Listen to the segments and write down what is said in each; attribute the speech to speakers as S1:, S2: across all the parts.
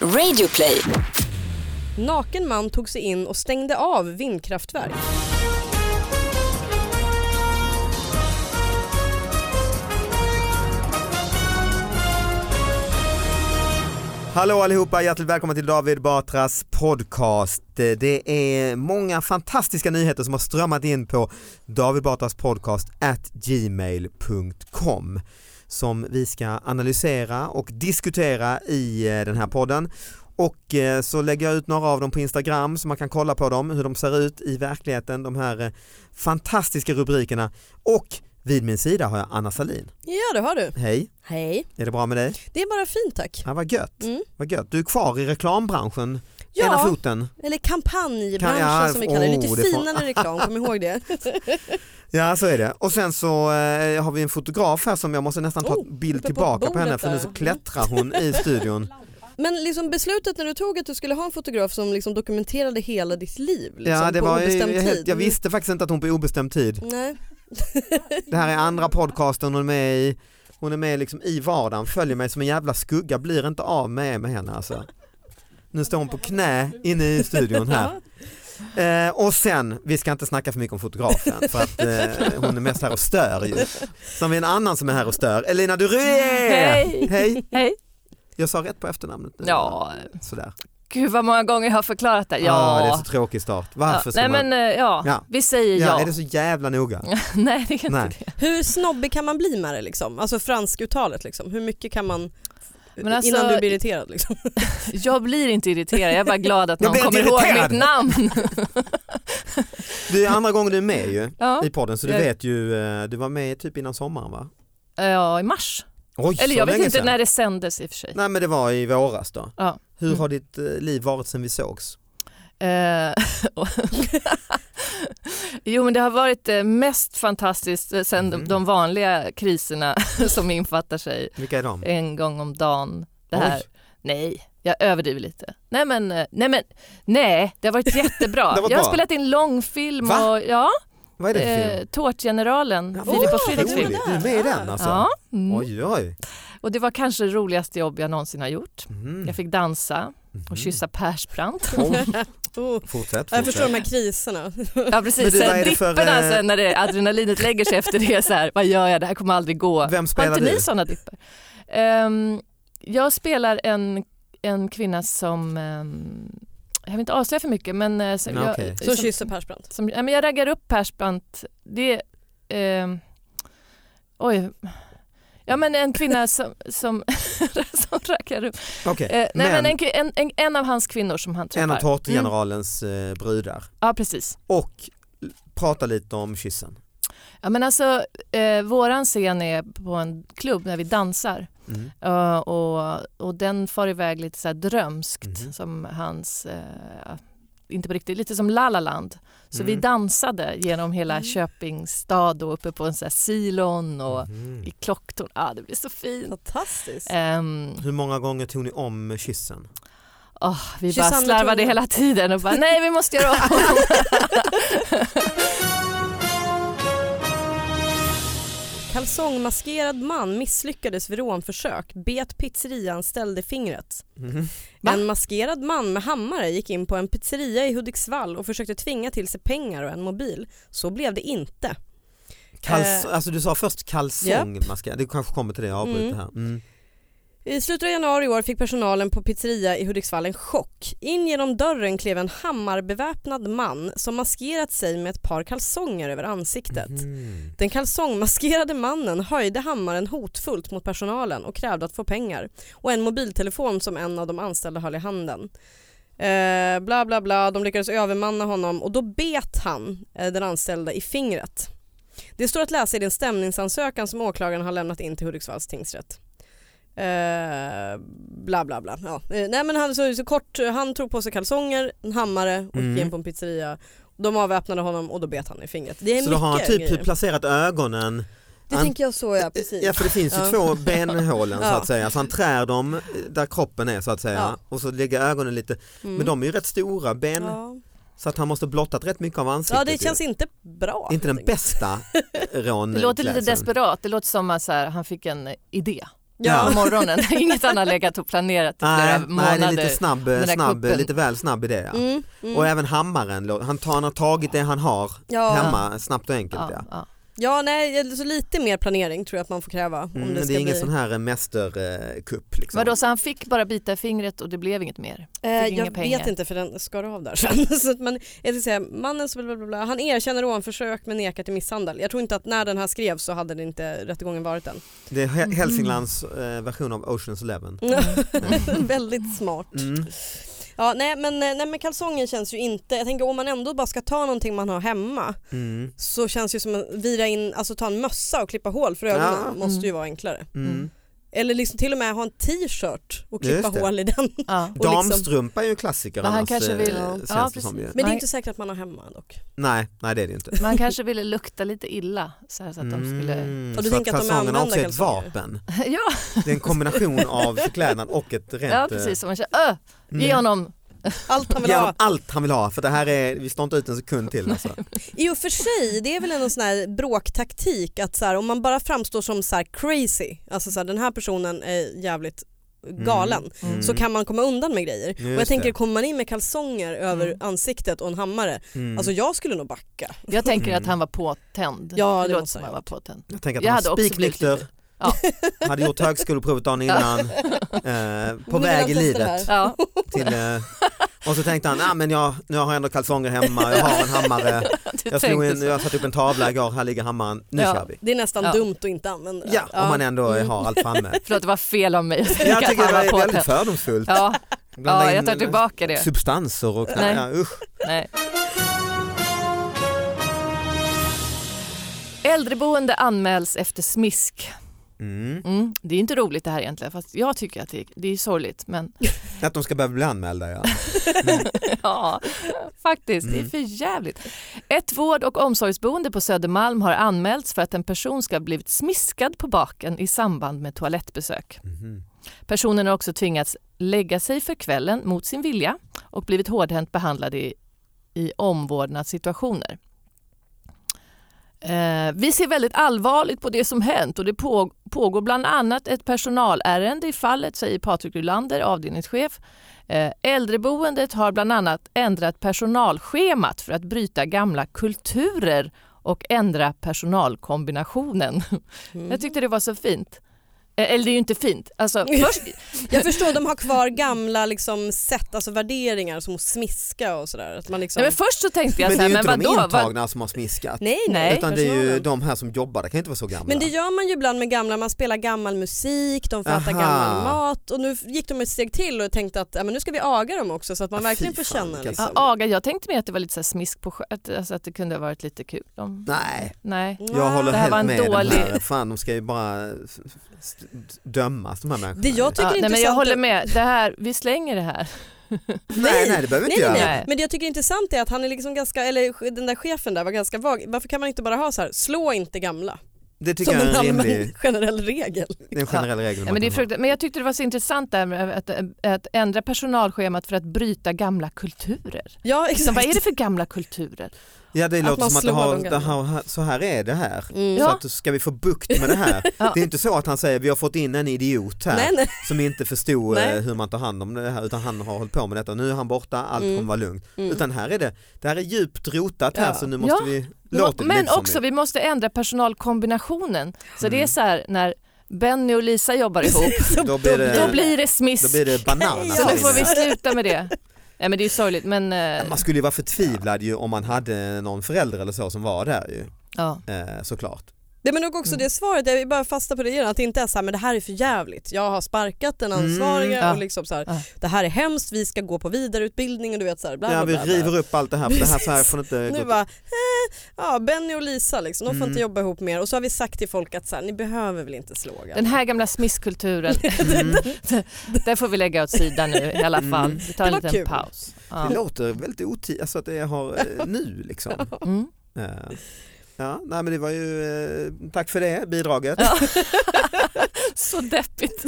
S1: Radioplay.
S2: Naken man tog sig in och stängde av vindkraftverk.
S3: Hallå allihopa, hjärtligt välkomna till David Batras podcast. Det är många fantastiska nyheter som har strömmat in på David Batras podcast at gmail.com som vi ska analysera och diskutera i eh, den här podden. Och eh, så lägger jag ut några av dem på Instagram så man kan kolla på dem, hur de ser ut i verkligheten, de här eh, fantastiska rubrikerna. Och vid min sida har jag Anna Salin.
S2: Ja det har du.
S3: Hej,
S2: Hej.
S3: är det bra med dig?
S2: Det är bara fint tack.
S3: Ja, vad gött.
S2: Mm.
S3: Vad gött. Du är kvar i reklambranschen, ena
S2: Ja,
S3: foten.
S2: eller kampanjbranschen
S3: Kan- ja,
S2: som vi kallar det.
S3: oh,
S2: Lite
S3: det får-
S2: finare reklam, kom ihåg det.
S3: Ja så är det. Och sen så eh, har vi en fotograf här som jag måste nästan ta
S2: Oh,
S3: bild
S2: uppe på
S3: tillbaka på,
S2: bordet
S3: henne för nu
S2: där.
S3: så klättrar hon i studion.
S2: Men liksom beslutet när du tog att du skulle ha en fotograf som liksom dokumenterade hela ditt liv liksom,
S3: Ja, det
S2: på
S3: var, jag,
S2: obestämd
S3: jag,
S2: tid.
S3: jag visste faktiskt inte att hon på obestämd tid.
S2: Nej.
S3: Det här är
S2: Mm.
S3: andra podcasten hon är med i. Hon är med liksom i vardagen, följer mig som en jävla skugga, blir inte av med, med henne alltså. Nu står hon på knä inne i studion här. Eh, och sen, vi ska inte snacka för mycket om fotografen för att eh, hon är mest här och stör ju. Sen har vi en annan som är här och stör, Elina Duré!
S4: Hej!
S3: Hej!
S4: Hej.
S3: Jag sa rätt på efternamnet nu.
S4: Ja,
S3: Sådär.
S4: gud vad många gånger jag har förklarat det. Ja,
S3: Ah, det är så tråkig start. Varför
S4: ja.
S3: ska
S4: Nej
S3: man...
S4: men eh, ja,
S3: Ja.
S4: vi säger
S3: Ja,
S4: ja.
S3: är det så jävla noga?
S4: Nej det är inte
S3: Nej.
S4: det.
S2: Hur snobbig kan man bli med det liksom? Alltså fransk-uttalet liksom. Hur mycket kan man
S4: Men alltså-
S2: innan du blir irriterad liksom?
S4: Jag blir inte irriterad, jag är bara glad att
S3: Jag
S4: någon
S3: blir
S4: kommer
S3: inte
S4: ihåg
S3: irriterad.
S4: mitt namn.
S3: Du är andra gången du är med ju
S4: Ja,
S3: i podden så du
S4: Jag-
S3: vet ju, eh, du var med typ innan sommaren va?
S4: Eh, ja i mars.
S3: Oj,
S4: Eller
S3: så
S4: jag vet
S3: länge
S4: inte
S3: sedan.
S4: när det sändes i och för sig.
S3: Nej men det var i våras då.
S4: Ja.
S3: Hur
S4: Mm.
S3: har ditt eh, liv varit sedan vi sågs?
S4: Eh, jo men det har varit eh, mest fantastiskt eh, sen de,
S3: Mm.
S4: de vanliga kriserna som infattar sig
S3: Vilka är de?
S4: en gång om dagen. Det här.
S3: Oj.
S4: Nej, jag överdriver lite. Nej men, eh, nej men, nej, det har varit jättebra.
S3: Det var
S4: jag har
S3: bra.
S4: spelat in långfilm
S3: Va?
S4: och ja,
S3: Vad är det för
S4: eh,
S3: film?
S4: Tårtgeneralen,
S3: Ja,
S4: Filip och
S3: vad
S4: Fredriks film.
S3: roligt. Du är med i den alltså?
S4: Ja, mm.
S3: Oj oj.
S4: och det var kanske det roligaste jobb jag någonsin har gjort.
S3: Mm.
S4: Jag fick dansa
S3: Mhm.
S4: och kyssa Persbrandt.
S3: Oj,
S2: Oh.
S3: Fortsätt,
S2: Jag förstår de
S3: fortsätt.
S2: här kriserna.
S4: Ja
S3: Men
S4: precis,
S3: du, vad
S4: sen
S3: är det för,
S4: dipperna
S3: eh,
S4: sen när det, adrenalinet lägger sig efter det så här, vad gör jag, det här kommer aldrig gå.
S3: Vem
S4: Har
S3: spelar
S4: inte ni
S3: du?
S4: sådana dippar? Ehm, jag spelar en, en kvinna som, ehm, jag vill inte avslöja för mycket men eh, som,
S3: Nej,
S4: jag,
S3: okej.
S2: Som
S4: som,
S2: kysser Persbrandt.
S4: som, ja, men jag raggar upp Persbrandt. Det är, ehm, oj, ja men en kvinna som, som, som raggar upp.
S3: Okej,
S4: Eh, nej men,
S3: men
S4: en, en, en, en av hans kvinnor som han Eh, träffar. Mm.
S3: en av tårtgeneralens eh, brudar.
S4: Ja precis.
S3: Och l- prata lite om kyssen.
S4: Ja men alltså eh, våran scen är på en klubb när vi dansar.
S3: Mm.
S4: Ja, Eh, och, och den far iväg lite så här drömskt
S3: Mhm.
S4: som hans, eh, inte på riktigt, lite som La La Land. Så vi
S3: Mm.
S4: dansade genom hela
S2: Mm.
S4: Köpings stad och uppe på en så här silon och
S3: Mm.
S4: i klocktorn. Ah, det blir så fint.
S2: Fantastiskt.
S4: Ehm,
S3: Hur många gånger tog ni om kyssen?
S4: åh, vi
S2: Kyss
S4: bara
S2: andra
S4: slarvade
S2: tungan.
S4: hela tiden och bara nej vi måste göra om.
S2: Kalsongmaskerad man misslyckades vid rånförsök, bet pizzeriaanställd i fingret.
S4: Va?
S2: En maskerad man med hammare gick in på en pizzeria i Hudiksvall och försökte tvinga till sig pengar och en mobil. Så blev det inte.
S3: Kals-
S2: Eh,
S3: alltså du sa först kalsongmaskera, det kanske kommer till det, jag avbryter
S2: Mm.
S3: här. Mm.
S2: I slutet av januari i år fick personalen på pizzeria i Hudiksvall en chock. In genom dörren klev en hammarbeväpnad man som maskerat sig med ett par kalsonger över ansiktet.
S3: Mm.
S2: Den kalsongmaskerade mannen höjde hammaren hotfullt mot personalen och krävde att få pengar och en mobiltelefon som en av de anställda höll i handen. Eh, bla bla bla, de lyckades övermanna honom och då bet han eh, den anställda i fingret. Det står att läsa i den stämningsansökan som åklagaren har lämnat in till Hudiksvalls tingsrätt. Eh, bla bla bla. Ja. Eh, nej men han, så, så kort, han tog på sig kalsonger, en hammare och
S3: Mm.
S2: gick in på en pizzeria. De avväpnade honom och då bet han i fingret. Det är
S3: Så då har han
S2: mycket
S3: typ
S2: grejer.
S3: placerat ögonen,
S2: Det
S3: An- Eh,
S2: tänker jag så ja, precis.
S3: ja för det finns ju
S2: Ja.
S3: två benhålen så
S2: Ja.
S3: att säga, så han trär dem eh, där kroppen är så att säga
S2: Ja.
S3: och så lägger ögonen lite,
S2: Mm.
S3: men de är ju rätt stora ben
S2: ja.
S3: så att han måste blottat rätt mycket av ansiktet.
S2: ja det känns
S3: ju.
S2: inte bra.
S3: inte den bästa rån.
S4: Det låter lite desperat, det låter som att så här, han fick en idé.
S3: Ja.
S4: på morgonen. Inget annat har legat och planerat i flera
S3: Nej, nej, det är
S4: månader.
S3: lite, snabb,
S4: där
S3: snabb,
S4: kuppen.
S3: lite väl snabb idé. Ja.
S2: Mm, mm.
S3: Och även hammaren, lå- han, tar, han har tagit det han har
S2: ja.
S3: hemma snabbt och enkelt. Ja.
S4: ja, ja.
S2: ja, nej, så lite mer planering tror jag att man får kräva. Om
S3: Mm,
S2: det,
S3: det,
S2: ska
S3: är ingen
S2: bli.
S3: sån här eh, mästerkupp. Liksom.
S4: Vadå, så han fick bara bita i fingret och det blev inget mer?
S2: Eh,
S4: Fick inga
S2: jag
S4: pengar.
S2: vet inte för den skar av där sen. Så att man, jag ska säga, mannen så bla bla bla, bla, han erkänner rånförsök men nekar till misshandel. Jag tror inte att när den här skrevs så hade det inte rättegången varit än.
S3: Det är Hä-
S2: Mm.
S3: Hälsinglands eh, version av Oceans Eleven.
S2: Väldigt smart.
S3: Mm.
S2: Ja, nej, men, eh, nej men kalsongen känns ju inte, jag tänker om man ändå bara ska ta någonting man har hemma
S3: Mm.
S2: så känns det ju som att vira in, alltså ta en mössa och klippa hål för ögonen
S3: Ja.
S2: måste ju
S4: Mm.
S2: vara enklare.
S3: Mm.
S4: Mm.
S2: Eller liksom till och med ha en t-shirt och klippa
S3: Just det.
S2: hål i den.
S4: Ja.
S2: Och liksom-
S3: Damstrumpa är ju en klassiker
S4: Men han
S3: annars,
S4: kanske
S3: eh,
S4: vill-
S2: Ja.
S3: känns
S4: Ja,
S3: det som ju.
S4: precis.
S2: Men det är
S4: Nej.
S2: inte säkert att man har hemma dock.
S3: Nej, nej det är det ju inte.
S4: Man kanske ville lukta lite illa så, här, så att de skulle...
S3: Mm,
S2: Och du
S3: så
S2: tänker
S3: att
S2: att de
S3: kalsongerna
S2: använder
S3: också är
S2: kalsonger?
S3: ett vapen.
S4: ja,
S3: Det är en kombination av förklädnad och ett rent...
S4: ja, precis. Så man känner, öh,
S3: eh,
S4: ge
S3: mm.
S4: honom.
S2: Allt han vill
S3: Ge honom
S2: ha.
S3: allt han vill ha för det här är, vi står inte ut en sekund till alltså.
S2: I och för sig, det är väl en sån här bråktaktik att så här, om man bara framstår som så här crazy, alltså så här, den här personen är jävligt galen,
S4: Mm.
S2: så kan man komma undan med grejer.
S3: Just
S2: och jag tänker
S3: det.
S2: kommer man in med kalsonger över
S4: Mm.
S2: ansiktet och en hammare,
S3: Mm.
S2: alltså jag skulle nog backa.
S4: Jag tänker
S3: Mm.
S4: att han var påtänd.
S2: Ja, det
S4: det låter
S2: måste
S4: som
S2: han
S4: han var påtänd.
S3: jag tänker att
S4: jag
S3: han
S4: hade
S3: var
S4: också blivit
S3: spiknykter,
S4: lite- Ja.
S3: hade gjort högskoleprovet dagen innan, eh, på
S2: Nu vill
S3: väg
S2: han
S3: i
S2: testa
S3: livet.
S2: det
S4: Ja.
S3: Till, eh, och så tänkte han, ah, men jag, nu har jag ändå kalsonger hemma, jag har en hammare,
S4: Du
S3: jag, slog
S4: tänkte
S3: in,
S4: så.
S3: jag satte upp en tavla igår, här ligger hammaren, nu
S4: Ja. Mm.
S3: kör vi.
S2: Det är nästan
S4: Ja.
S2: dumt att inte använda det.
S3: Ja, om man ändå eh, har allt framme.
S4: Förlåt, det var fel av mig att tänka
S3: Jag tycker
S4: att
S3: det
S4: han var
S3: är väldigt
S4: påtänd.
S3: fördomsfullt.
S4: Ja,
S3: Blanda
S4: ja, jag
S3: in,
S4: tar
S3: eh,
S4: tillbaka det.
S3: substanser och
S4: Nej.
S3: ja, usch.
S4: Nej. Äldreboende anmäls efter smisk.
S3: Mm.
S4: Mm. Det är inte roligt det här egentligen, fast jag tycker att det är, det är sorgligt. Men
S3: Att de ska behöva bli anmälda ja.
S4: ja, faktiskt, det är
S3: Mm.
S4: för jävligt. Ett vård och omsorgsboende på Södermalm har anmälts för att en person ska ha blivit smiskad på baken i samband med toalettbesök.
S3: Mhm.
S4: Personen har också tvingats lägga sig för kvällen mot sin vilja och blivit hårdhänt behandlad i, i omvårdnadssituationer. Eh, vi ser väldigt allvarligt på det som hänt och det på, pågår bland annat ett personalärende i fallet, säger Patrik Rylander, avdelningschef. Eh, äldreboendet har bland annat ändrat personalschemat för att bryta gamla kulturer och ändra personalkombinationen.
S2: Mm.
S4: Jag tyckte det var så fint. Eh, eller det är ju inte fint. Alltså, först,
S2: Jag förstår de har kvar gamla liksom, sätt, alltså värderingar som att smiska och sådär. Att man liksom...
S4: Nej, men först så tänkte jag
S3: Men
S4: så
S3: det är
S4: här,
S3: ju
S4: men
S3: inte de
S4: vadå? Vad,
S3: intagna som har smiskat.
S2: nej,
S4: Nej,
S3: utan det är ju
S2: personalen.
S3: de här som jobbar, det kan ju inte vara så gamla.
S2: Men det gör man ju ibland med gamla, man spelar gammal musik, de får äta
S3: Aha.
S2: gammal mat och nu gick de ett steg till och tänkte att ja, men nu ska vi aga dem också så att man
S3: Ah,
S2: verkligen
S3: fy
S2: får
S3: fan,
S2: känna.
S3: vilka
S2: Liksom.
S4: ja, aga, jag tänkte mer att det var lite så här smisk på skönt, alltså att det kunde ha varit lite kul. Om,
S3: Nej,
S4: nej.
S2: liksom.
S3: jag håller
S4: det här
S3: helt
S4: var en
S3: med
S4: dålig-
S3: de här. Fan, de ska ju bara s- s- dömas de här människorna.
S2: Det jag tycker
S4: Ja,
S2: är
S4: nej, men jag
S2: intressant
S4: håller
S2: är-
S4: med, det här, vi slänger det här.
S3: Nej, nej det behöver vi
S2: Nej,
S3: inte
S2: nej,
S3: göra.
S2: nej. Men det jag tycker är intressant är att han är liksom ganska, eller den där chefen där var ganska vag. Varför kan man inte bara ha så här, slå inte gamla?
S3: Det tycker
S2: Som
S3: jag
S2: en
S3: är en
S2: allmän
S3: rimlig,
S2: generell regel.
S3: det är en generell regel.
S4: Ja,
S3: man
S4: men, det är
S3: kan ha.
S4: frukt- men jag tyckte det var så intressant där med att, att ändra personalschemat för att bryta gamla kulturer.
S2: Ja
S4: Liksom,
S2: exakt.
S4: vad är det för gamla kulturer?
S3: ja, det
S2: att
S3: låter
S2: man
S3: som att det
S2: slår
S3: har,
S2: de
S3: det
S2: gamla.
S3: har, så här är det här.
S2: Mm.
S3: Så
S4: Ja.
S3: att, ska vi få bukt med det här?
S4: Ja.
S3: Det är inte så att han säger vi har fått in en idiot här.
S2: Nej, nej.
S3: som inte förstod
S2: Nej.
S3: eh, hur man tar hand om det här utan han har hållit på med detta. Nu är han borta, allt
S2: Mm.
S3: kommer vara lugnt.
S2: Mm.
S3: Utan här är det, det här är djupt rotat här
S2: Ja.
S3: så nu måste
S4: Ja.
S3: vi
S4: Men-
S3: låta det
S4: men
S3: lite som
S4: också
S3: det. Mm.
S4: vi måste ändra personalkombinationen. Så det är så här när Benny och Lisa jobbar ihop,
S3: Då blir det,
S4: då blir det smisk.
S3: då blir det bananas.
S4: Så
S2: Ja,
S4: nu får vi
S2: visst.
S4: sluta med det. Nej men det är ju sorgligt men... eh,
S3: Man skulle ju vara förtvivlad ju om man hade någon förälder eller så som var där ju
S4: ja.
S3: eh, såklart.
S2: Nej, men också
S3: Mm.
S2: det svaret, jag vill bara fasta på det igen, att det inte är så här, men det här är för jävligt. Jag har sparkat den ansvariga
S3: Ah.
S4: Mm, ja.
S2: och liksom så här,
S4: Ja.
S2: det här är hemskt, vi ska gå på vidareutbildning och du vet så här, bla,
S3: Ja,
S2: bla,
S3: vi
S2: bla, bla.
S3: river upp allt det här för det här, så här får inte
S2: Nu
S3: gå.
S2: bara, eh, ja, Benny och Lisa liksom, de får
S3: Mm.
S2: inte jobba ihop mer och så har vi sagt till folk att så här, ni behöver väl inte slå
S4: Den
S2: gamla.
S4: här gamla smisskulturen,
S3: Mm.
S4: den får vi lägga åt sidan nu i alla fall. Vi tar en
S2: Mm. Det var
S4: liten
S2: kul.
S4: paus.
S3: Det
S4: Ja.
S3: låter väldigt otid, alltså att det har eh, nu liksom.
S4: Mm.
S3: Eh, Ja, nej men det var ju, eh, tack för det bidraget.
S4: Ja. Så deppigt.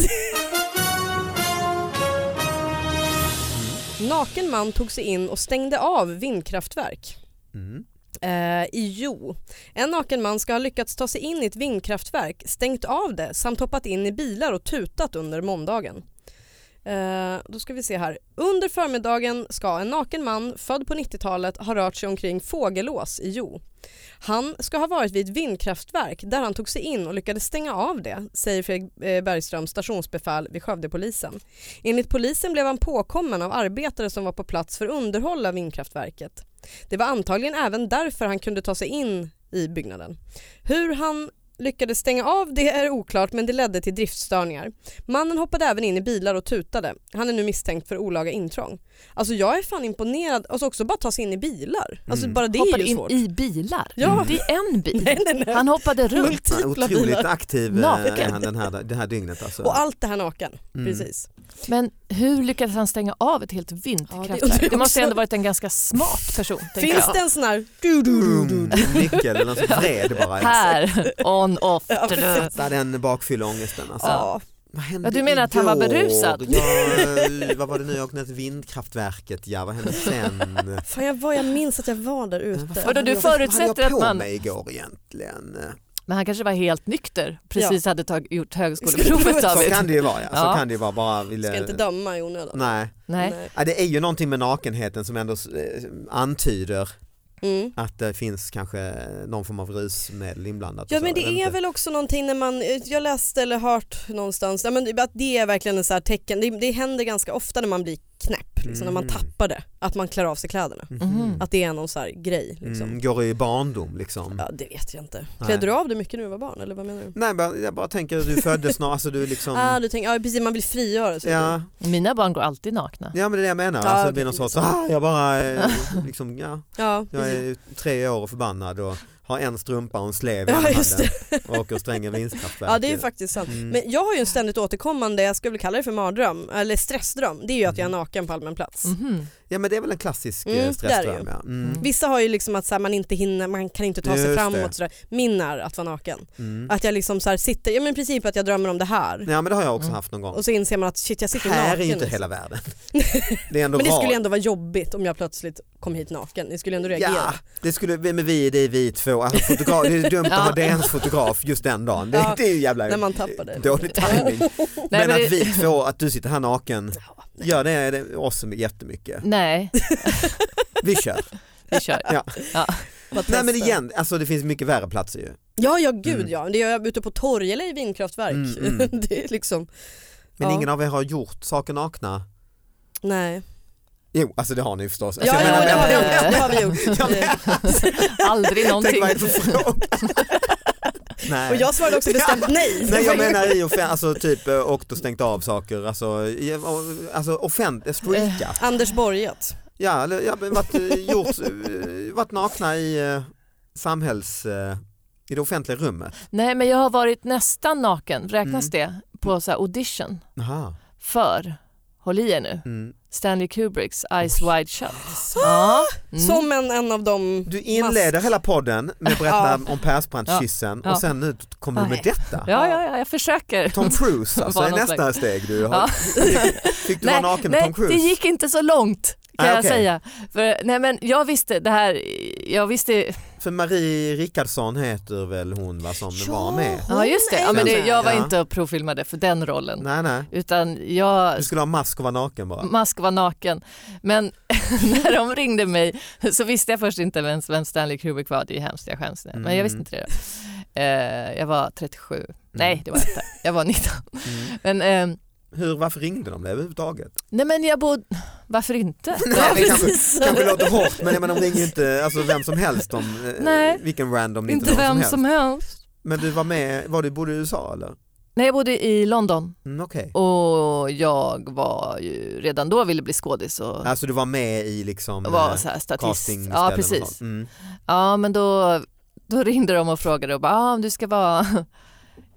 S2: Naken man tog sig in och stängde av vindkraftverk.
S3: Mm.
S2: Eh, I Jo. En naken man ska ha lyckats ta sig in i ett vindkraftverk, stängt av det samt hoppat in i bilar och tutat under måndagen. Eh, då ska vi se här. Under förmiddagen ska en naken man född på 90-talet ha rört sig omkring Fågelås i Jo. Han ska ha varit vid ett vindkraftverk där han tog sig in och lyckades stänga av det, säger Fredrik eh, Bergström, stationsbefäl vid Skövdepolisen. Enligt polisen blev han påkommen av arbetare som var på plats för underhåll av vindkraftverket. Det var antagligen även därför han kunde ta sig in i byggnaden. Hur han lyckades stänga av det är oklart men det ledde till driftstörningar. Mannen hoppade även in i bilar och tutade. Han är nu misstänkt för olaga intrång. Alltså jag är fan imponerad, alltså också bara ta sig in i bilar. Alltså
S3: Mm.
S2: bara det är
S4: hoppade
S2: ju
S4: in
S2: svårt.
S4: i bilar.
S2: Ja.
S4: Det är en bil.
S2: Nej, nej, nej.
S4: Han hoppade runt.
S3: Han är
S2: Multipla
S3: Otroligt
S2: bilar.
S3: aktiv eh,
S4: Naken.
S3: är han den här, det här dygnet alltså.
S2: Och allt det här naken,
S3: Mm.
S2: precis.
S4: Men hur lyckades han stänga av ett helt
S2: Ja, det-
S4: vindkraftverk?
S2: det
S4: det,
S2: är
S4: måste
S2: också-
S4: ändå varit en ganska smart person. tänker
S2: Finns
S4: jag.
S2: det en sån här du, du, du, du,
S3: Boom,
S2: du.
S3: nyckel eller något sånt vred bara.
S4: Här, on, off.
S2: Ja, precis.
S3: Sätta den bakfylleångesten alltså.
S2: Ja.
S3: Vad hände
S4: Ja, du menar att han var
S3: igår?
S4: berusad?
S3: Ja, eh, vad var det nu, jag åkte till vindkraftverket, ja vad hände sen?
S2: Fan jag, var, jag minns att jag var där
S3: Eh, vad fan
S2: ute.
S4: Vadå, du
S3: jag- vad
S4: förutsätter
S3: hade jag
S4: att
S3: på
S4: man-
S3: mig igår egentligen?
S4: Men han kanske var helt nykter, precis hade tag- gjort högskoleprovet
S2: Skulle-
S3: Så
S4: av
S3: kan det ju vara ja, så
S4: Ja.
S3: kan det ju vara. Bara ville...
S2: Ska inte döma i onödan.
S3: Nej,
S4: Nej.
S3: ja, det är ju någonting med nakenheten som ändå eh, antyder
S2: Mm.
S3: att det finns kanske någon form av rusmedel inblandat. och
S2: Ja
S3: så,
S2: men
S3: jag
S2: det
S3: vet
S2: är
S3: inte.
S2: väl också någonting när man, jag läste eller hört någonstans, ja, men att det är verkligen en så här tecken, det, det händer ganska ofta när man blir knäpp, liksom, när man
S3: Mm.
S2: tappar det, att man klär av sig kläderna.
S4: Mhm.
S2: Att det är någon så här grej. Liksom.
S3: Mm, går i barndom liksom.
S2: Ja, det vet jag inte.
S3: Nej.
S2: Klädde du av dig mycket när du var barn eller vad menar du?
S3: Nej bara- jag bara tänker att du föddes snart, alltså du liksom...
S2: Ah, du tänker, ja precis man vill frigöra sig.
S3: ja,
S4: Mina barn går alltid nakna.
S3: ja men det är det jag menar,
S2: Ja,
S3: alltså, det blir
S2: det-
S3: någon sorts, ah, jag bara eh, liksom, ja,
S2: Ja,
S3: jag
S2: precis.
S3: är tre år och förbannad och har en strumpa och en slev i
S2: Ja,
S3: ena
S2: just
S3: handen och åker strängen vindkraftverk.
S2: ja det är ju faktiskt sant.
S3: Mm.
S2: Men jag har ju en ständigt återkommande, jag skulle väl kalla det för mardröm, eller stressdröm, det är ju att jag
S3: Mm.
S2: är naken på allmän plats.
S4: Mhm.
S3: Ja men det är väl en klassisk
S2: Mm, det är
S3: mm,
S2: det
S3: stressdröm.
S2: ju.
S3: Ja. Mm,
S2: Vissa har ju liksom att så här, man inte hinner, man kan inte ta sig
S3: Just det.
S2: framåt sådär. Min är att vara naken.
S3: mm.
S2: Att jag liksom så här sitter, ja men i princip att jag drömmer om det här
S3: ja men det har jag också
S4: Mm.
S3: haft någon gång.
S2: och så inser man att shit jag sitter
S3: Här är
S2: naken. liksom.
S3: ju inte hela världen. Det är ändå
S2: men det
S3: rad-
S2: skulle ändå vara jobbigt om jag plötsligt kom hit naken, ni skulle ändå reagera.
S3: Ja, det skulle, men vi, det är vi två. Alltså, fotograf, det är dumt att ha
S4: Ja.
S3: det ens fotograf just den dagen. Det,
S2: Ja,
S3: det är ju jävla
S2: när man tappar det.
S3: dålig timing.
S4: Nej,
S3: men,
S4: men
S3: att
S4: det-
S3: vi två, att du sitter här naken,
S2: Ja, nej.
S3: gör det, det oss jättemycket.
S4: Nej,
S3: Vi kör.
S4: vi kör.
S3: Ja.
S2: Bara
S3: Nej men
S2: testa.
S3: igen, alltså, det finns mycket värre platser ju.
S2: Ja, ja gud
S3: Mm.
S2: ja. Det gör jag ute på torg eller i vindkraftverk.
S3: Mm, mm.
S2: det är liksom,
S3: Men
S2: Ja.
S3: ingen av er har gjort saker nakna.
S2: nej.
S3: Jo, alltså det har ni förstås.
S2: Ja,
S3: Alltså,
S2: ja,
S3: jag menar,
S2: det,
S4: men-
S2: har vi
S3: jag-
S2: gjort, det har vi gjort.
S3: Ja, men-
S4: Aldrig
S3: Tänk
S4: någonting.
S3: vad är det för fråga? Nej.
S2: Och jag svarade också bestämt nej.
S3: Nej jag menar i offent, alltså typ eh, åkt och stängt av saker, alltså, i- alltså offent, streakat.
S4: Eh.
S2: Anders Borget.
S3: Ja, eller ja, men varit, eh, gjort, eh, varit nakna i eh, samhälls, eh, i det offentliga rummet.
S4: Nej, men jag har varit nästan naken, räknas
S3: Mm.
S4: det, på så här audition
S3: Aha.
S4: för, håll i er nu,
S3: Mm.
S4: Stanley Kubricks Eyes Wide Shut.
S2: Ah,
S4: Ja. Mm.
S2: Som en, en av dem.
S3: Du inleder hela podden med att berätta om Persbrandt-kyssen
S4: Ja.
S3: och sen nu kom du med
S4: Nej.
S3: detta.
S4: Ja, ja, ja, jag försöker.
S3: Tom Cruise alltså
S4: Var
S3: är
S4: någon
S3: nästa
S4: slags-
S3: steg du har.
S4: Ja.
S3: Fick du vara naken med
S4: nej,
S3: Tom Cruise?
S4: det gick inte så långt kan
S3: Nej,
S4: jag
S3: okej.
S4: säga. För, nej, men jag visste det här, jag visste,
S3: För Marie Rickardsson heter väl hon va, som var med?
S4: ja just det, ja, men det jag var
S3: Ja.
S4: inte provfilmade för den rollen.
S3: Nej nej,
S4: Utan jag
S3: du skulle ha mask och vara naken bara.
S4: Musk var naken. Men när de ringde mig så visste jag först inte vem, vem Stanley Kubrick var. Det är ju hemskt, jag skäms nu. Men jag visste
S3: Mm.
S4: inte det. då. Eh, jag var 37. Nej, det var jag inte. Jag var 19.
S3: Mm.
S4: Men, ehm,
S3: Hur, varför ringde de dig överhuvudtaget?
S4: nej men jag bodde... Varför inte?
S3: Ja, det kanske,
S2: precis.
S3: kanske låter hårt men jag menar, de ringer ju inte alltså, vem som helst om eh,
S4: Nej.
S3: vilken random
S4: inte
S3: någon
S4: vem
S3: helst.
S4: som helst.
S3: Men du var med, var du bodde i USA eller?
S4: Nej, jag bodde i London
S3: Mm, Okej.
S4: och jag var ju redan då ville bli skådis och
S3: Alltså du var med i liksom
S4: var
S3: eh,
S4: så här statist.
S3: castingställen
S4: Ja,
S3: och
S4: precis.
S3: sånt. Mm.
S4: Ja, men då, då ringde de och frågade och bara, ah, om du ska vara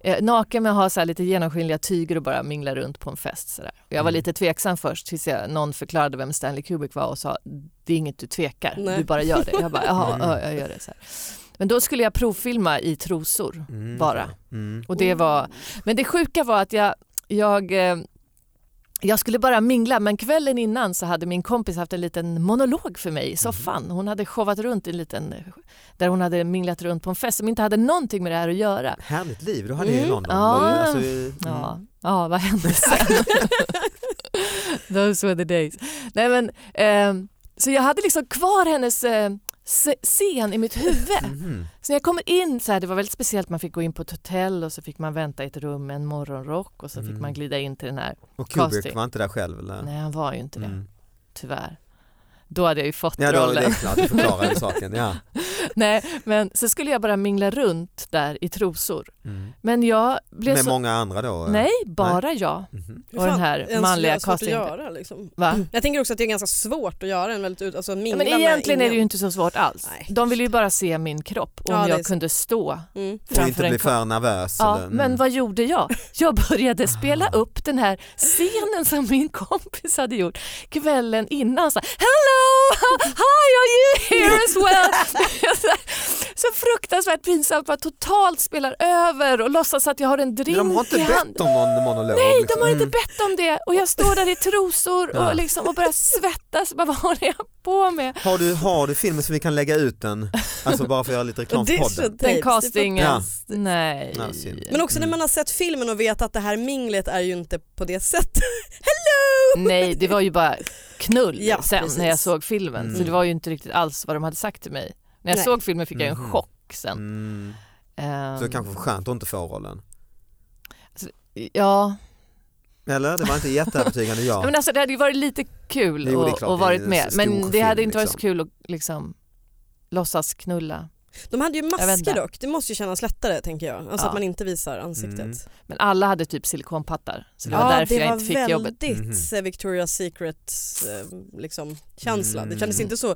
S4: eh, naken men ha så här lite genomskinliga tyger och bara mingla runt på en fest. Så där. Och jag var
S3: Mm.
S4: lite tveksam först tills jag, någon förklarade vem Stanley Kubrick var och sa det är inget du tvekar,
S2: Nej.
S4: du bara gör det. Jag bara, jaha,
S3: Mm.
S4: ja, jag gör det. Så här. Men då skulle jag provfilma i trosor
S3: Mm,
S4: Bara.
S3: okej. Mm.
S4: och det var, men det sjuka var att jag, jag eh, Jag skulle bara mingla men kvällen innan så hade min kompis haft en liten monolog för mig i soffan. Hon hade showat runt i en liten, där hon hade minglat runt på en fest som inte hade någonting med det här att göra.
S3: Härligt liv du hade ju i
S2: Mm.
S3: London.
S4: Ja.
S3: Det var ju, alltså, mm.
S4: Ja, ja vad hände sen? Those were the days. Nej, men, ehm, så jag hade liksom kvar hennes eh, se- scen i mitt huvud.
S3: Mhm.
S4: Så när jag kommer in, så här, det var väldigt speciellt, man fick gå in på ett hotell och så fick man vänta i ett rum med en morgonrock och så
S3: Mm.
S4: fick man glida in till den här.
S3: Och Kubrick
S4: Casting.
S3: var inte där själv eller?
S4: Nej, han var ju inte det,
S3: Mm.
S4: tyvärr. Då hade jag ju fått
S3: Ja, då, det
S4: rollen.
S3: är klart, du förklarade saken. Ja.
S4: Nej, men så skulle jag bara mingla runt där i trosor.
S3: Mm.
S4: Men jag blev
S3: Med
S4: så...
S3: många andra då? eh?
S4: Nej, bara jag.
S3: Mhm.
S2: Hur
S4: Och den
S2: fan
S4: här
S2: ens
S4: manliga
S2: är svårt att
S4: casting-
S2: göra, liksom.
S4: Va?
S2: Jag tänker också att det är ganska svårt att göra en väldigt ut, alltså mingla
S4: Ja, men
S2: med
S4: egentligen är det ju
S2: ingen.
S4: inte så svårt alls.
S2: Nej.
S4: De ville ju bara se min kropp och om
S2: Ja, det är
S4: jag
S2: sant.
S4: kunde stå
S2: Mm.
S3: Och
S4: framför
S3: inte bli
S4: en kamera.
S3: för nervös.
S4: Ja,
S3: eller, mm.
S4: men vad gjorde jag? Jag började spela
S3: Ah.
S4: upp den här scenen som min kompis hade gjort kvällen innan. Så här, Hello, hi are you here as well? så fruktansvärt pinsamt, bara totalt spelar över och låtsas att jag har en
S3: Men
S4: drink
S3: de har
S4: i
S3: inte
S4: hand.
S3: bett om någon monolog?
S4: Nej, de
S3: liksom.
S4: har inte
S3: Mm.
S4: bett om det och jag står där i trosor
S3: Ja.
S4: och, liksom, och börjar svettas. Bara, vad håller jag på med?
S3: Har du, har du filmen så vi kan lägga ut den? Alltså bara för att göra lite reklam för
S2: Det är så
S3: podden.
S2: tapes, det
S4: Den
S2: är
S4: castingen.
S3: Ja.
S4: Nej.
S3: Ja, synd.
S2: Men också när
S3: Mm.
S2: man har sett filmen och vet att det här minglet är ju inte på det sättet. Hello!
S4: Nej, det var ju bara knull
S2: Ja,
S4: sen
S2: precis.
S4: när jag såg filmen. Så
S3: Mm.
S4: det var ju inte riktigt alls vad de hade sagt till mig. När jag
S2: Nej.
S4: såg filmen fick jag en
S3: Mhm.
S4: chock sen.
S3: Mm.
S4: Ehm,
S3: Så det kanske var skönt att inte få rollen.
S4: Ja,
S3: Eller? Det var inte jätteövertygande
S4: Ja,
S3: jag.
S4: men alltså, det hade ju varit lite kul
S3: Jo, det är
S4: att
S3: klart,
S4: att
S3: det
S4: varit
S3: är en
S4: med.
S3: stor
S4: Men det hade
S3: film,
S4: inte varit så
S3: liksom.
S4: kul att liksom låtsas knulla.
S2: De hade ju
S4: vet inte.
S2: masker dock, det måste ju kännas lättare tänker jag. Alltså
S4: Ja.
S2: att man inte visar ansiktet.
S3: Mm.
S4: Men alla hade typ silikonpattar så det
S3: Ja,
S4: var därför jag inte fick
S2: väldigt
S4: jobbet.
S2: eh, Victoria's Secret eh, liksom, känsla. Det kändes
S3: Mm.
S2: inte så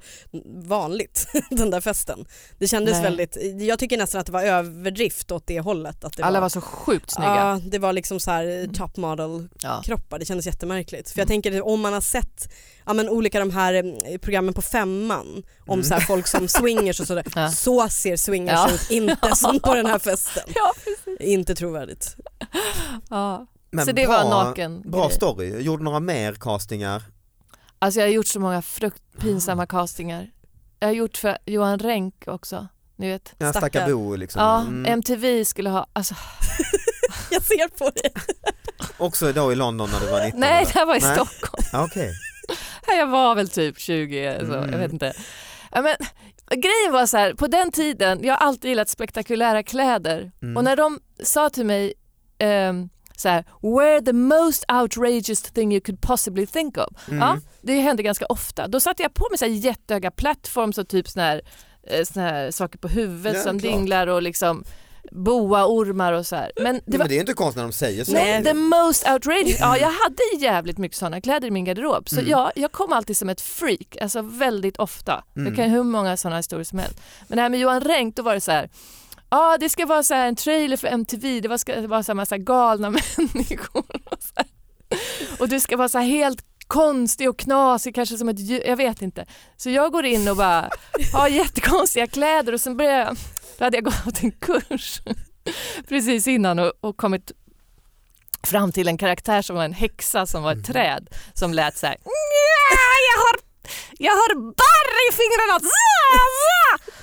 S2: vanligt den där festen. Det kändes
S4: Nej.
S2: väldigt, jag tycker nästan att det var överdrift åt det hållet. Att det
S4: Alla var
S2: var
S4: så sjukt snygga.
S2: Ja, det var liksom så här top model
S4: Ja.
S2: kroppar, det kändes jättemärkligt. För jag
S4: Mm.
S2: tänker om man har sett ja, men olika de här eh, programmen på femman om
S3: Mm.
S2: så här folk som swingers och sådär.
S4: Ja.
S2: Så ser swingers
S4: Ja.
S2: ut, inte som på den här festen.
S4: Ja,
S2: Inte trovärdigt.
S4: Ja.
S3: Men
S4: Så det
S3: bra,
S4: var naken
S3: Bra
S4: grej.
S3: story. Gjorde några mer castingar?
S4: Alltså jag har gjort så många frukt pinsamma castingar. Jag har gjort för Johan Renck också, ni vet.
S3: Ja,
S2: Stackar.
S3: stackar Bo liksom.
S4: Ja,
S3: Mm.
S4: MTV skulle ha, alltså,
S2: Jag ser på dig.
S3: Också då i London när du var 19?
S4: nej
S3: eller?
S4: det här var i
S3: Nej.
S4: Stockholm.
S3: Ja, Okej.
S4: Jag var väl typ 20, så,
S3: Mm.
S4: jag vet inte. Ja, men, grejen var så här, på den tiden, jag har alltid gillat spektakulära kläder
S3: Mm.
S4: och när de sa till mig ehm, så här, wear the most outrageous thing you could possibly think of.
S3: Mm.
S4: Ja, det hände ganska ofta. Då satte jag på mig så här jättehöga plattforms och typ såna här, eh, såna här saker på huvudet
S3: Ja,
S4: som
S3: klart.
S4: dinglar och liksom boaormar och så här. Men det
S3: Nej,
S4: var
S3: Men det är inte konstigt när de säger så.
S4: Nej, the most outrageous. Ja, jag hade jävligt mycket sådana kläder i min garderob. Så
S3: Mm.
S4: ja, jag kom alltid som ett freak, alltså väldigt ofta.
S3: Mm.
S4: Jag kan ju hur många sådana historier som helst. Men det här med Johan Renck, då var det så här. Ja, det ska vara så här en trailer för MTV, det var- ska vara så här massa galna människor. Och, så här. och du ska vara så här helt konstig och knasig, kanske som ett djur, jag vet inte. Så jag går in och bara har jättekonstiga kläder och sen börjar jag, då hade jag gått en kurs precis innan och, och kommit fram till en karaktär som var en häxa som var ett träd som lät så här. "Nja, Jag har, jag har barr i fingrarna! Zah, zah."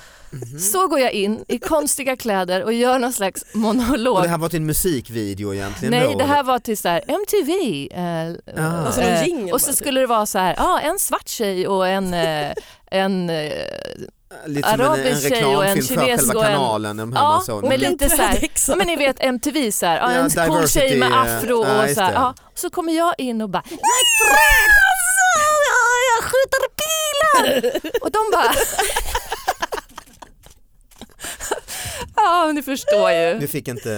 S4: Så går jag in i konstiga kläder och gör någon slags monolog.
S3: Och det här var till en musikvideo egentligen
S4: Nej,
S3: då?
S4: det här var till så här MTV. Eh,
S3: Ah.
S2: Alltså någon
S4: eh,
S2: jingle
S4: och
S2: bara,
S4: så
S2: typ.
S4: skulle det vara så här, ah, en svart tjej och en, eh, en eh,
S3: Lite som en, en
S4: arabisk tjej och en
S3: reklamfilm för
S4: kines
S3: själva
S4: och en-
S3: kanalen. De här
S4: Ja,
S3: man såg. Mm.
S4: men
S2: en
S4: lite så här-
S2: trädhäxa.
S4: ja, men ni vet MTV så här, ah,
S3: Ja,
S4: en cool tjej
S3: diversity,
S4: med
S3: eh,
S4: afro och
S3: ja, just
S4: så här,
S3: det.
S4: ah. Så kommer jag in och bara, jag är träd, alltså, jag, jag skjuter pilar! Och de bara, ja men ni förstår
S3: Du
S4: ju.
S3: fick inte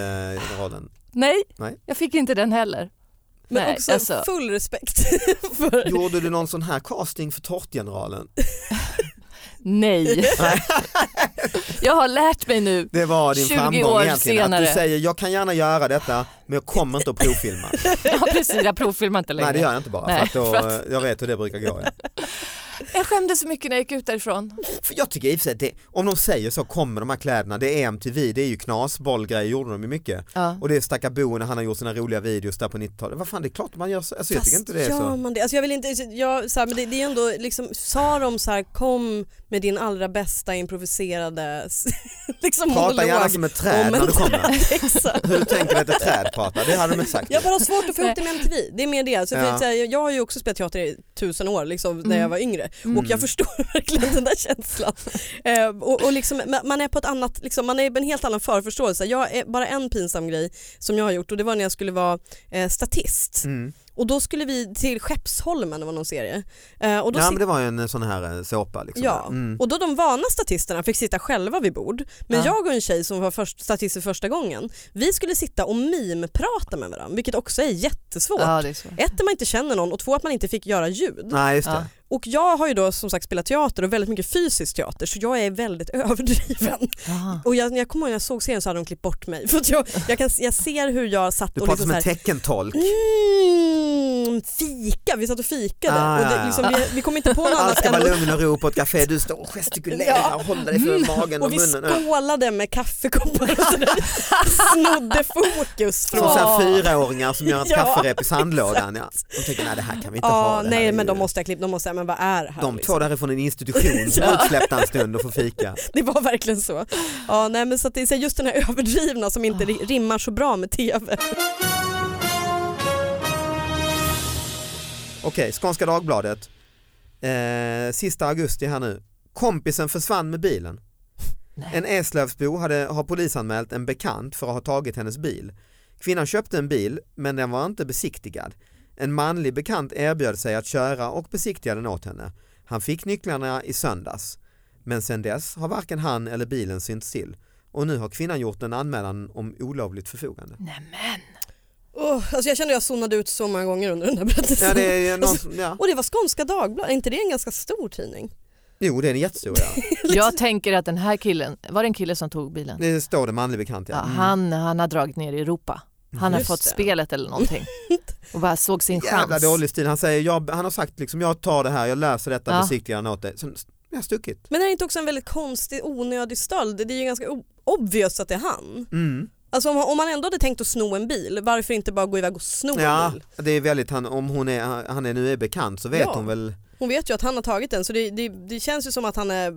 S3: rollen.
S4: Nej,
S3: Nej.
S4: jag fick inte den heller.
S2: Men
S4: Nej,
S2: också
S4: alltså.
S2: full respekt för
S3: Gjorde du någon sån här casting för Tårtgeneralen?
S4: Nej. jag har lärt mig nu.
S3: Det var din
S4: 20
S3: framgång
S4: år
S3: egentligen. Att du
S4: senare.
S3: säger jag kan gärna göra detta men jag kommer inte att provfilma.
S4: Jag har precis, jag provfilmar inte längre.
S3: Nej det gör jag inte bara
S4: Nej,
S3: för att då,
S4: för att-
S3: jag vet hur det brukar gå. Ja.
S4: jag skämdes så mycket när jag gick ut därifrån.
S3: För jag tycker i och för sig att det, om de säger så kommer de här kläderna, det är MTV, det är ju knas, bollgrejer gjorde de ju mycket.
S4: Ja.
S3: Och det är stackar Bo när han har gjort sina roliga videos där på 90-talet. Vad fan det är klart man gör så, alltså, jag tycker inte det är
S2: gör
S3: så.
S2: man det? Alltså jag vill inte, jag, så här, men det, det är ändå liksom, sa de så här kom med din allra bästa improviserade s- liksom
S3: Prata gärna
S2: monolog
S3: som ett träd
S2: om
S3: när
S2: en
S3: du kommer.
S2: träd. Exakt.
S3: Hur du tänker att ett träd pratar, det hade de inte sagt.
S2: Jag har bara har svårt att få ihop det med MTV, det är mer det. Alltså, för
S3: Ja.
S2: att säga, jag har ju också spelat teater i tusen år liksom, när
S4: Mm.
S2: jag var yngre
S4: Mm.
S2: och jag förstår verkligen den där känslan. Eh, och, och liksom, ma- man är på ett annat, liksom, man är på en helt annan förförståelse. Jag är bara en pinsam grej som jag har gjort och det var när jag skulle vara eh, statist
S3: Mm.
S2: och då skulle vi till Skeppsholmen, det var någon serie. Eh, och då
S3: Ja
S2: sit-
S3: men det var ju en sån här eh, såpa liksom.
S2: Ja,
S3: Mm.
S2: och då de vana statisterna fick sitta själva vid bord. Men
S4: Ja.
S2: jag och en tjej som var först, statist för första gången, vi skulle sitta och mimprata med varandra, vilket också är jättesvårt.
S4: Ja, det är så.
S2: Ett, att man inte känner någon och två, att man inte fick göra ljud.
S3: Nej just
S4: Ja.
S3: det.
S2: Och jag har ju då som sagt spelat teater och väldigt mycket fysisk teater så jag är väldigt överdriven.
S4: Jaha.
S2: Och jag, när jag kommer ihåg när jag såg serien så hade de klippt bort mig för att jag, jag, kan, jag ser hur jag satt
S3: Du
S2: och
S3: pratar
S2: liksom
S3: som
S2: så här,
S3: en teckentolk.
S2: Mm, fika, vi satt och fikade
S3: Ah,
S2: och
S3: ja, ja.
S2: det, liksom, vi, vi kom inte på något
S3: Alla
S2: annat
S3: ska
S2: än
S3: vara
S2: att
S3: lugn och ro på ett café, du står och gestikulerar och håller dig för magen
S2: Mm.
S3: och
S2: och vi
S3: munnen. Ja.
S2: skålade med kaffekoppar och sådär. Snodde fokus
S3: Som så
S2: från...
S3: här fyraåringar som gör ett
S2: Ja,
S3: kafferep i sandlådan. Ja. De tänker nej det här kan vi
S2: Ja,
S3: inte ha. Det här
S2: nej
S3: är
S2: men
S3: ju-
S2: de måste jag klippa, de måste säga men vad är det här?
S3: de
S2: liksom?
S3: tar det här från en institution som är utsläppta en stund och får fika.
S2: Det var verkligen så. Ja, nej, men så att det är så här, just den här överdrivna som inte ri- rimmar så bra med tv.
S3: Okej, Skånska Dagbladet. Eh, sista augusti här nu. Kompisen försvann med bilen.
S4: Nej.
S3: En Eslövsbo hade, har polisanmält en bekant för att ha tagit hennes bil. Kvinnan köpte en bil men den var inte besiktigad. En manlig bekant erbjöd sig att köra och besiktiga den åt henne. Han fick nycklarna i söndags. Men sedan dess har varken han eller bilen synts till. Och nu har kvinnan gjort en anmälan om olovligt förfogande.
S4: Nämen.
S2: Oh, alltså jag kände att jag zonade ut så många gånger under den här berättelsen.
S3: Ja, det är ju någon,
S4: Alltså-
S3: som- ja.
S2: Och det var Skånska Dagbladet, är inte det en ganska stor tidning?
S3: Jo, det är en jättestor ja.
S4: Jag tänker att den här killen, var det en kille som tog bilen?
S3: Det står det manlig bekant
S4: Ja,
S3: ja. Mm.
S4: han, han har dragit ner i Europa. Han har
S2: Just
S4: fått
S2: det.
S4: spelet eller någonting och bara såg sin
S3: Jävla
S4: chans.
S3: dålig stil. Han, säger, jag, han har sagt liksom, jag tar det här, jag löser detta,
S4: Ja.
S3: besiktigar den åt dig. Sen jag har stuckit.
S2: Men är det inte också en väldigt konstig onödig stöld? Det är ju ganska o- obvious att det är han.
S3: Mm.
S2: Alltså om, om man ändå hade tänkt att sno en bil, varför inte bara gå iväg och sno en
S3: Ja,
S2: bil?
S3: det är väldigt, han, om hon är, han är nu är bekant så vet
S2: Ja.
S3: hon väl.
S2: Hon vet ju att han har tagit den så det, det, det känns ju som att han är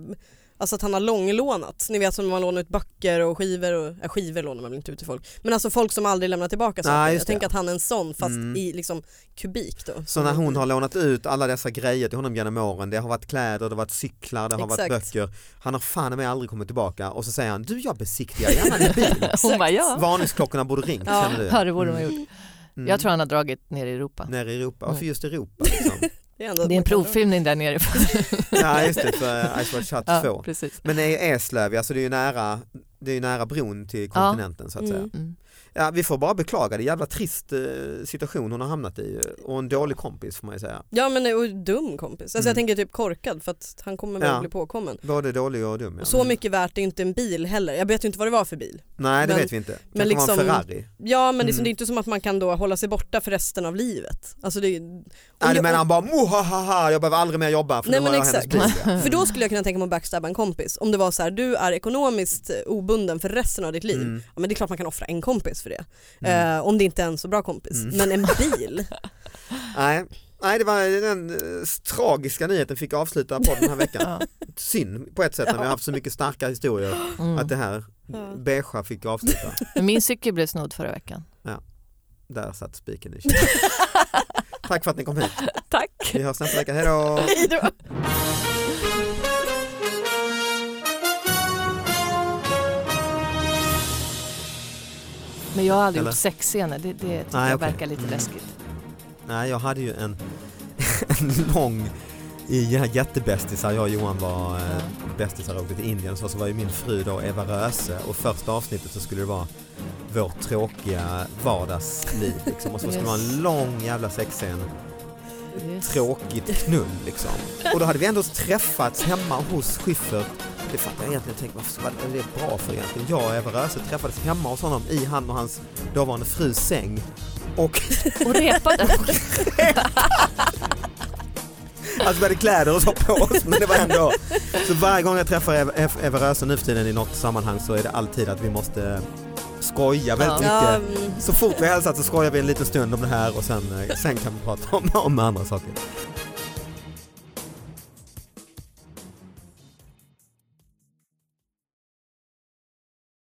S2: Alltså att han har långlånat. Ni vet som man lånar ut böcker och skivor. Och, äh, skivor lånar man väl inte ut till folk. Men alltså folk som aldrig lämnar tillbaka saker.
S3: Nej, just
S2: jag
S3: det.
S2: tänker att han är en sån fast
S3: Mm.
S2: i liksom kubik då.
S3: Så när hon har lånat ut alla dessa grejer till honom genom åren, det har varit kläder, det har varit cyklar, det har varit
S2: Exakt.
S3: böcker. Han har fan med aldrig kommit tillbaka och så säger han, du jag besiktigar gärna din bil.
S4: Hon bara ja,
S3: Varningsklockorna borde ringt
S2: Ja.
S3: känner du.
S4: ja det borde man gjort.
S3: Mm.
S4: Jag tror han Mm. har dragit ner i Europa.
S3: Nere i Europa, varför just Europa? Liksom?
S2: Det är, ändå
S4: Det är en provfilmning där nere.
S3: ja just det, för Ice Watch Shut 2.
S4: Ja, precis.
S3: Men det är Eslöv, alltså det är ju nära, det är ju nära bron till kontinenten så att säga.
S2: Mm.
S4: Mm.
S3: Ja, vi får bara beklaga det, jävla trist eh, situation hon har hamnat i eh, och en dålig kompis får man ju säga.
S2: Ja men och dum kompis. Alltså
S3: Mm.
S2: jag tänker typ korkad för att han kommer väl
S3: Ja.
S2: bli påkommen.
S3: Både dålig och dum. Ja.
S2: Och så mycket värt är ju inte en bil heller. Jag vet ju inte vad det var för bil.
S3: Nej det
S2: men-
S3: vet vi inte. Kanske
S2: men
S3: var en
S2: liksom-
S3: Ferrari.
S2: Ja men liksom,
S3: Mm.
S2: det är inte som att man kan då hålla sig borta för resten av livet. Alltså det, är-
S3: Nej, det
S2: jag-
S3: menar han bara mohahaha, jag behöver aldrig mer jobba för
S2: Nej,
S3: nu har
S2: men
S3: jag hennes
S2: exakt.
S3: bil. Ja.
S2: För då skulle jag kunna tänka mig att backstabba en kompis. Om det var så här, du är ekonomiskt eh, obunden för resten av ditt liv. Eh.
S3: Mm.
S2: Ja, men det är klart man kan offra en kompis för det.
S3: Mm.
S2: Eh, om det inte är en så bra kompis.
S3: Mm.
S2: Men en bil?
S3: Nej. Nej det var den eh, tragiska nyheten fick avsluta podden den här veckan.
S4: Ja.
S3: Synd på ett sätt när vi har haft så mycket starka historier att det
S4: Mm.
S3: här
S2: Ja.
S3: beigea fick avsluta.
S4: Min cykel blev snodd förra veckan.
S3: Där satt spiken i kistan. Tack för att ni kom hit.
S4: Tack!
S3: Vi hörs nästa vecka, hej då!
S2: Hej då.
S4: Men jag har aldrig
S3: Eller?
S4: gjort sexscener, det, det tycker
S3: Nej,
S4: jag
S3: okej. Mm.
S4: verkar lite läskigt.
S3: Nej, jag hade ju en, en lång i ja, jättebästisar, jag och Johan var eh, bästisar och åkte till Indien så, så var ju min fru då Eva Röse och första avsnittet så skulle det vara vårt tråkiga vardagsliv liksom. och så skulle det vara en lång jävla sexscen,
S4: Just.
S3: tråkigt knull liksom. Och då hade vi ändå träffats hemma hos Schyffert det fattar jag egentligen, jag tänkte varför vad är det bra för egentligen? Jag och Eva Röse träffades hemma hos honom i han och hans dåvarande frus säng och
S4: Och repade.
S3: Alltså vi hade kläder och så på oss men det var ändå. Så varje gång jag träffar Eva, Eva- Eva Röse nu för tiden i något sammanhang så är det alltid att vi måste eh, skoja väldigt
S2: Ja, mm.
S3: mycket. Så fort vi har hälsat så skojar vi en liten stund om det här och sen, eh, sen kan vi prata om, om andra saker.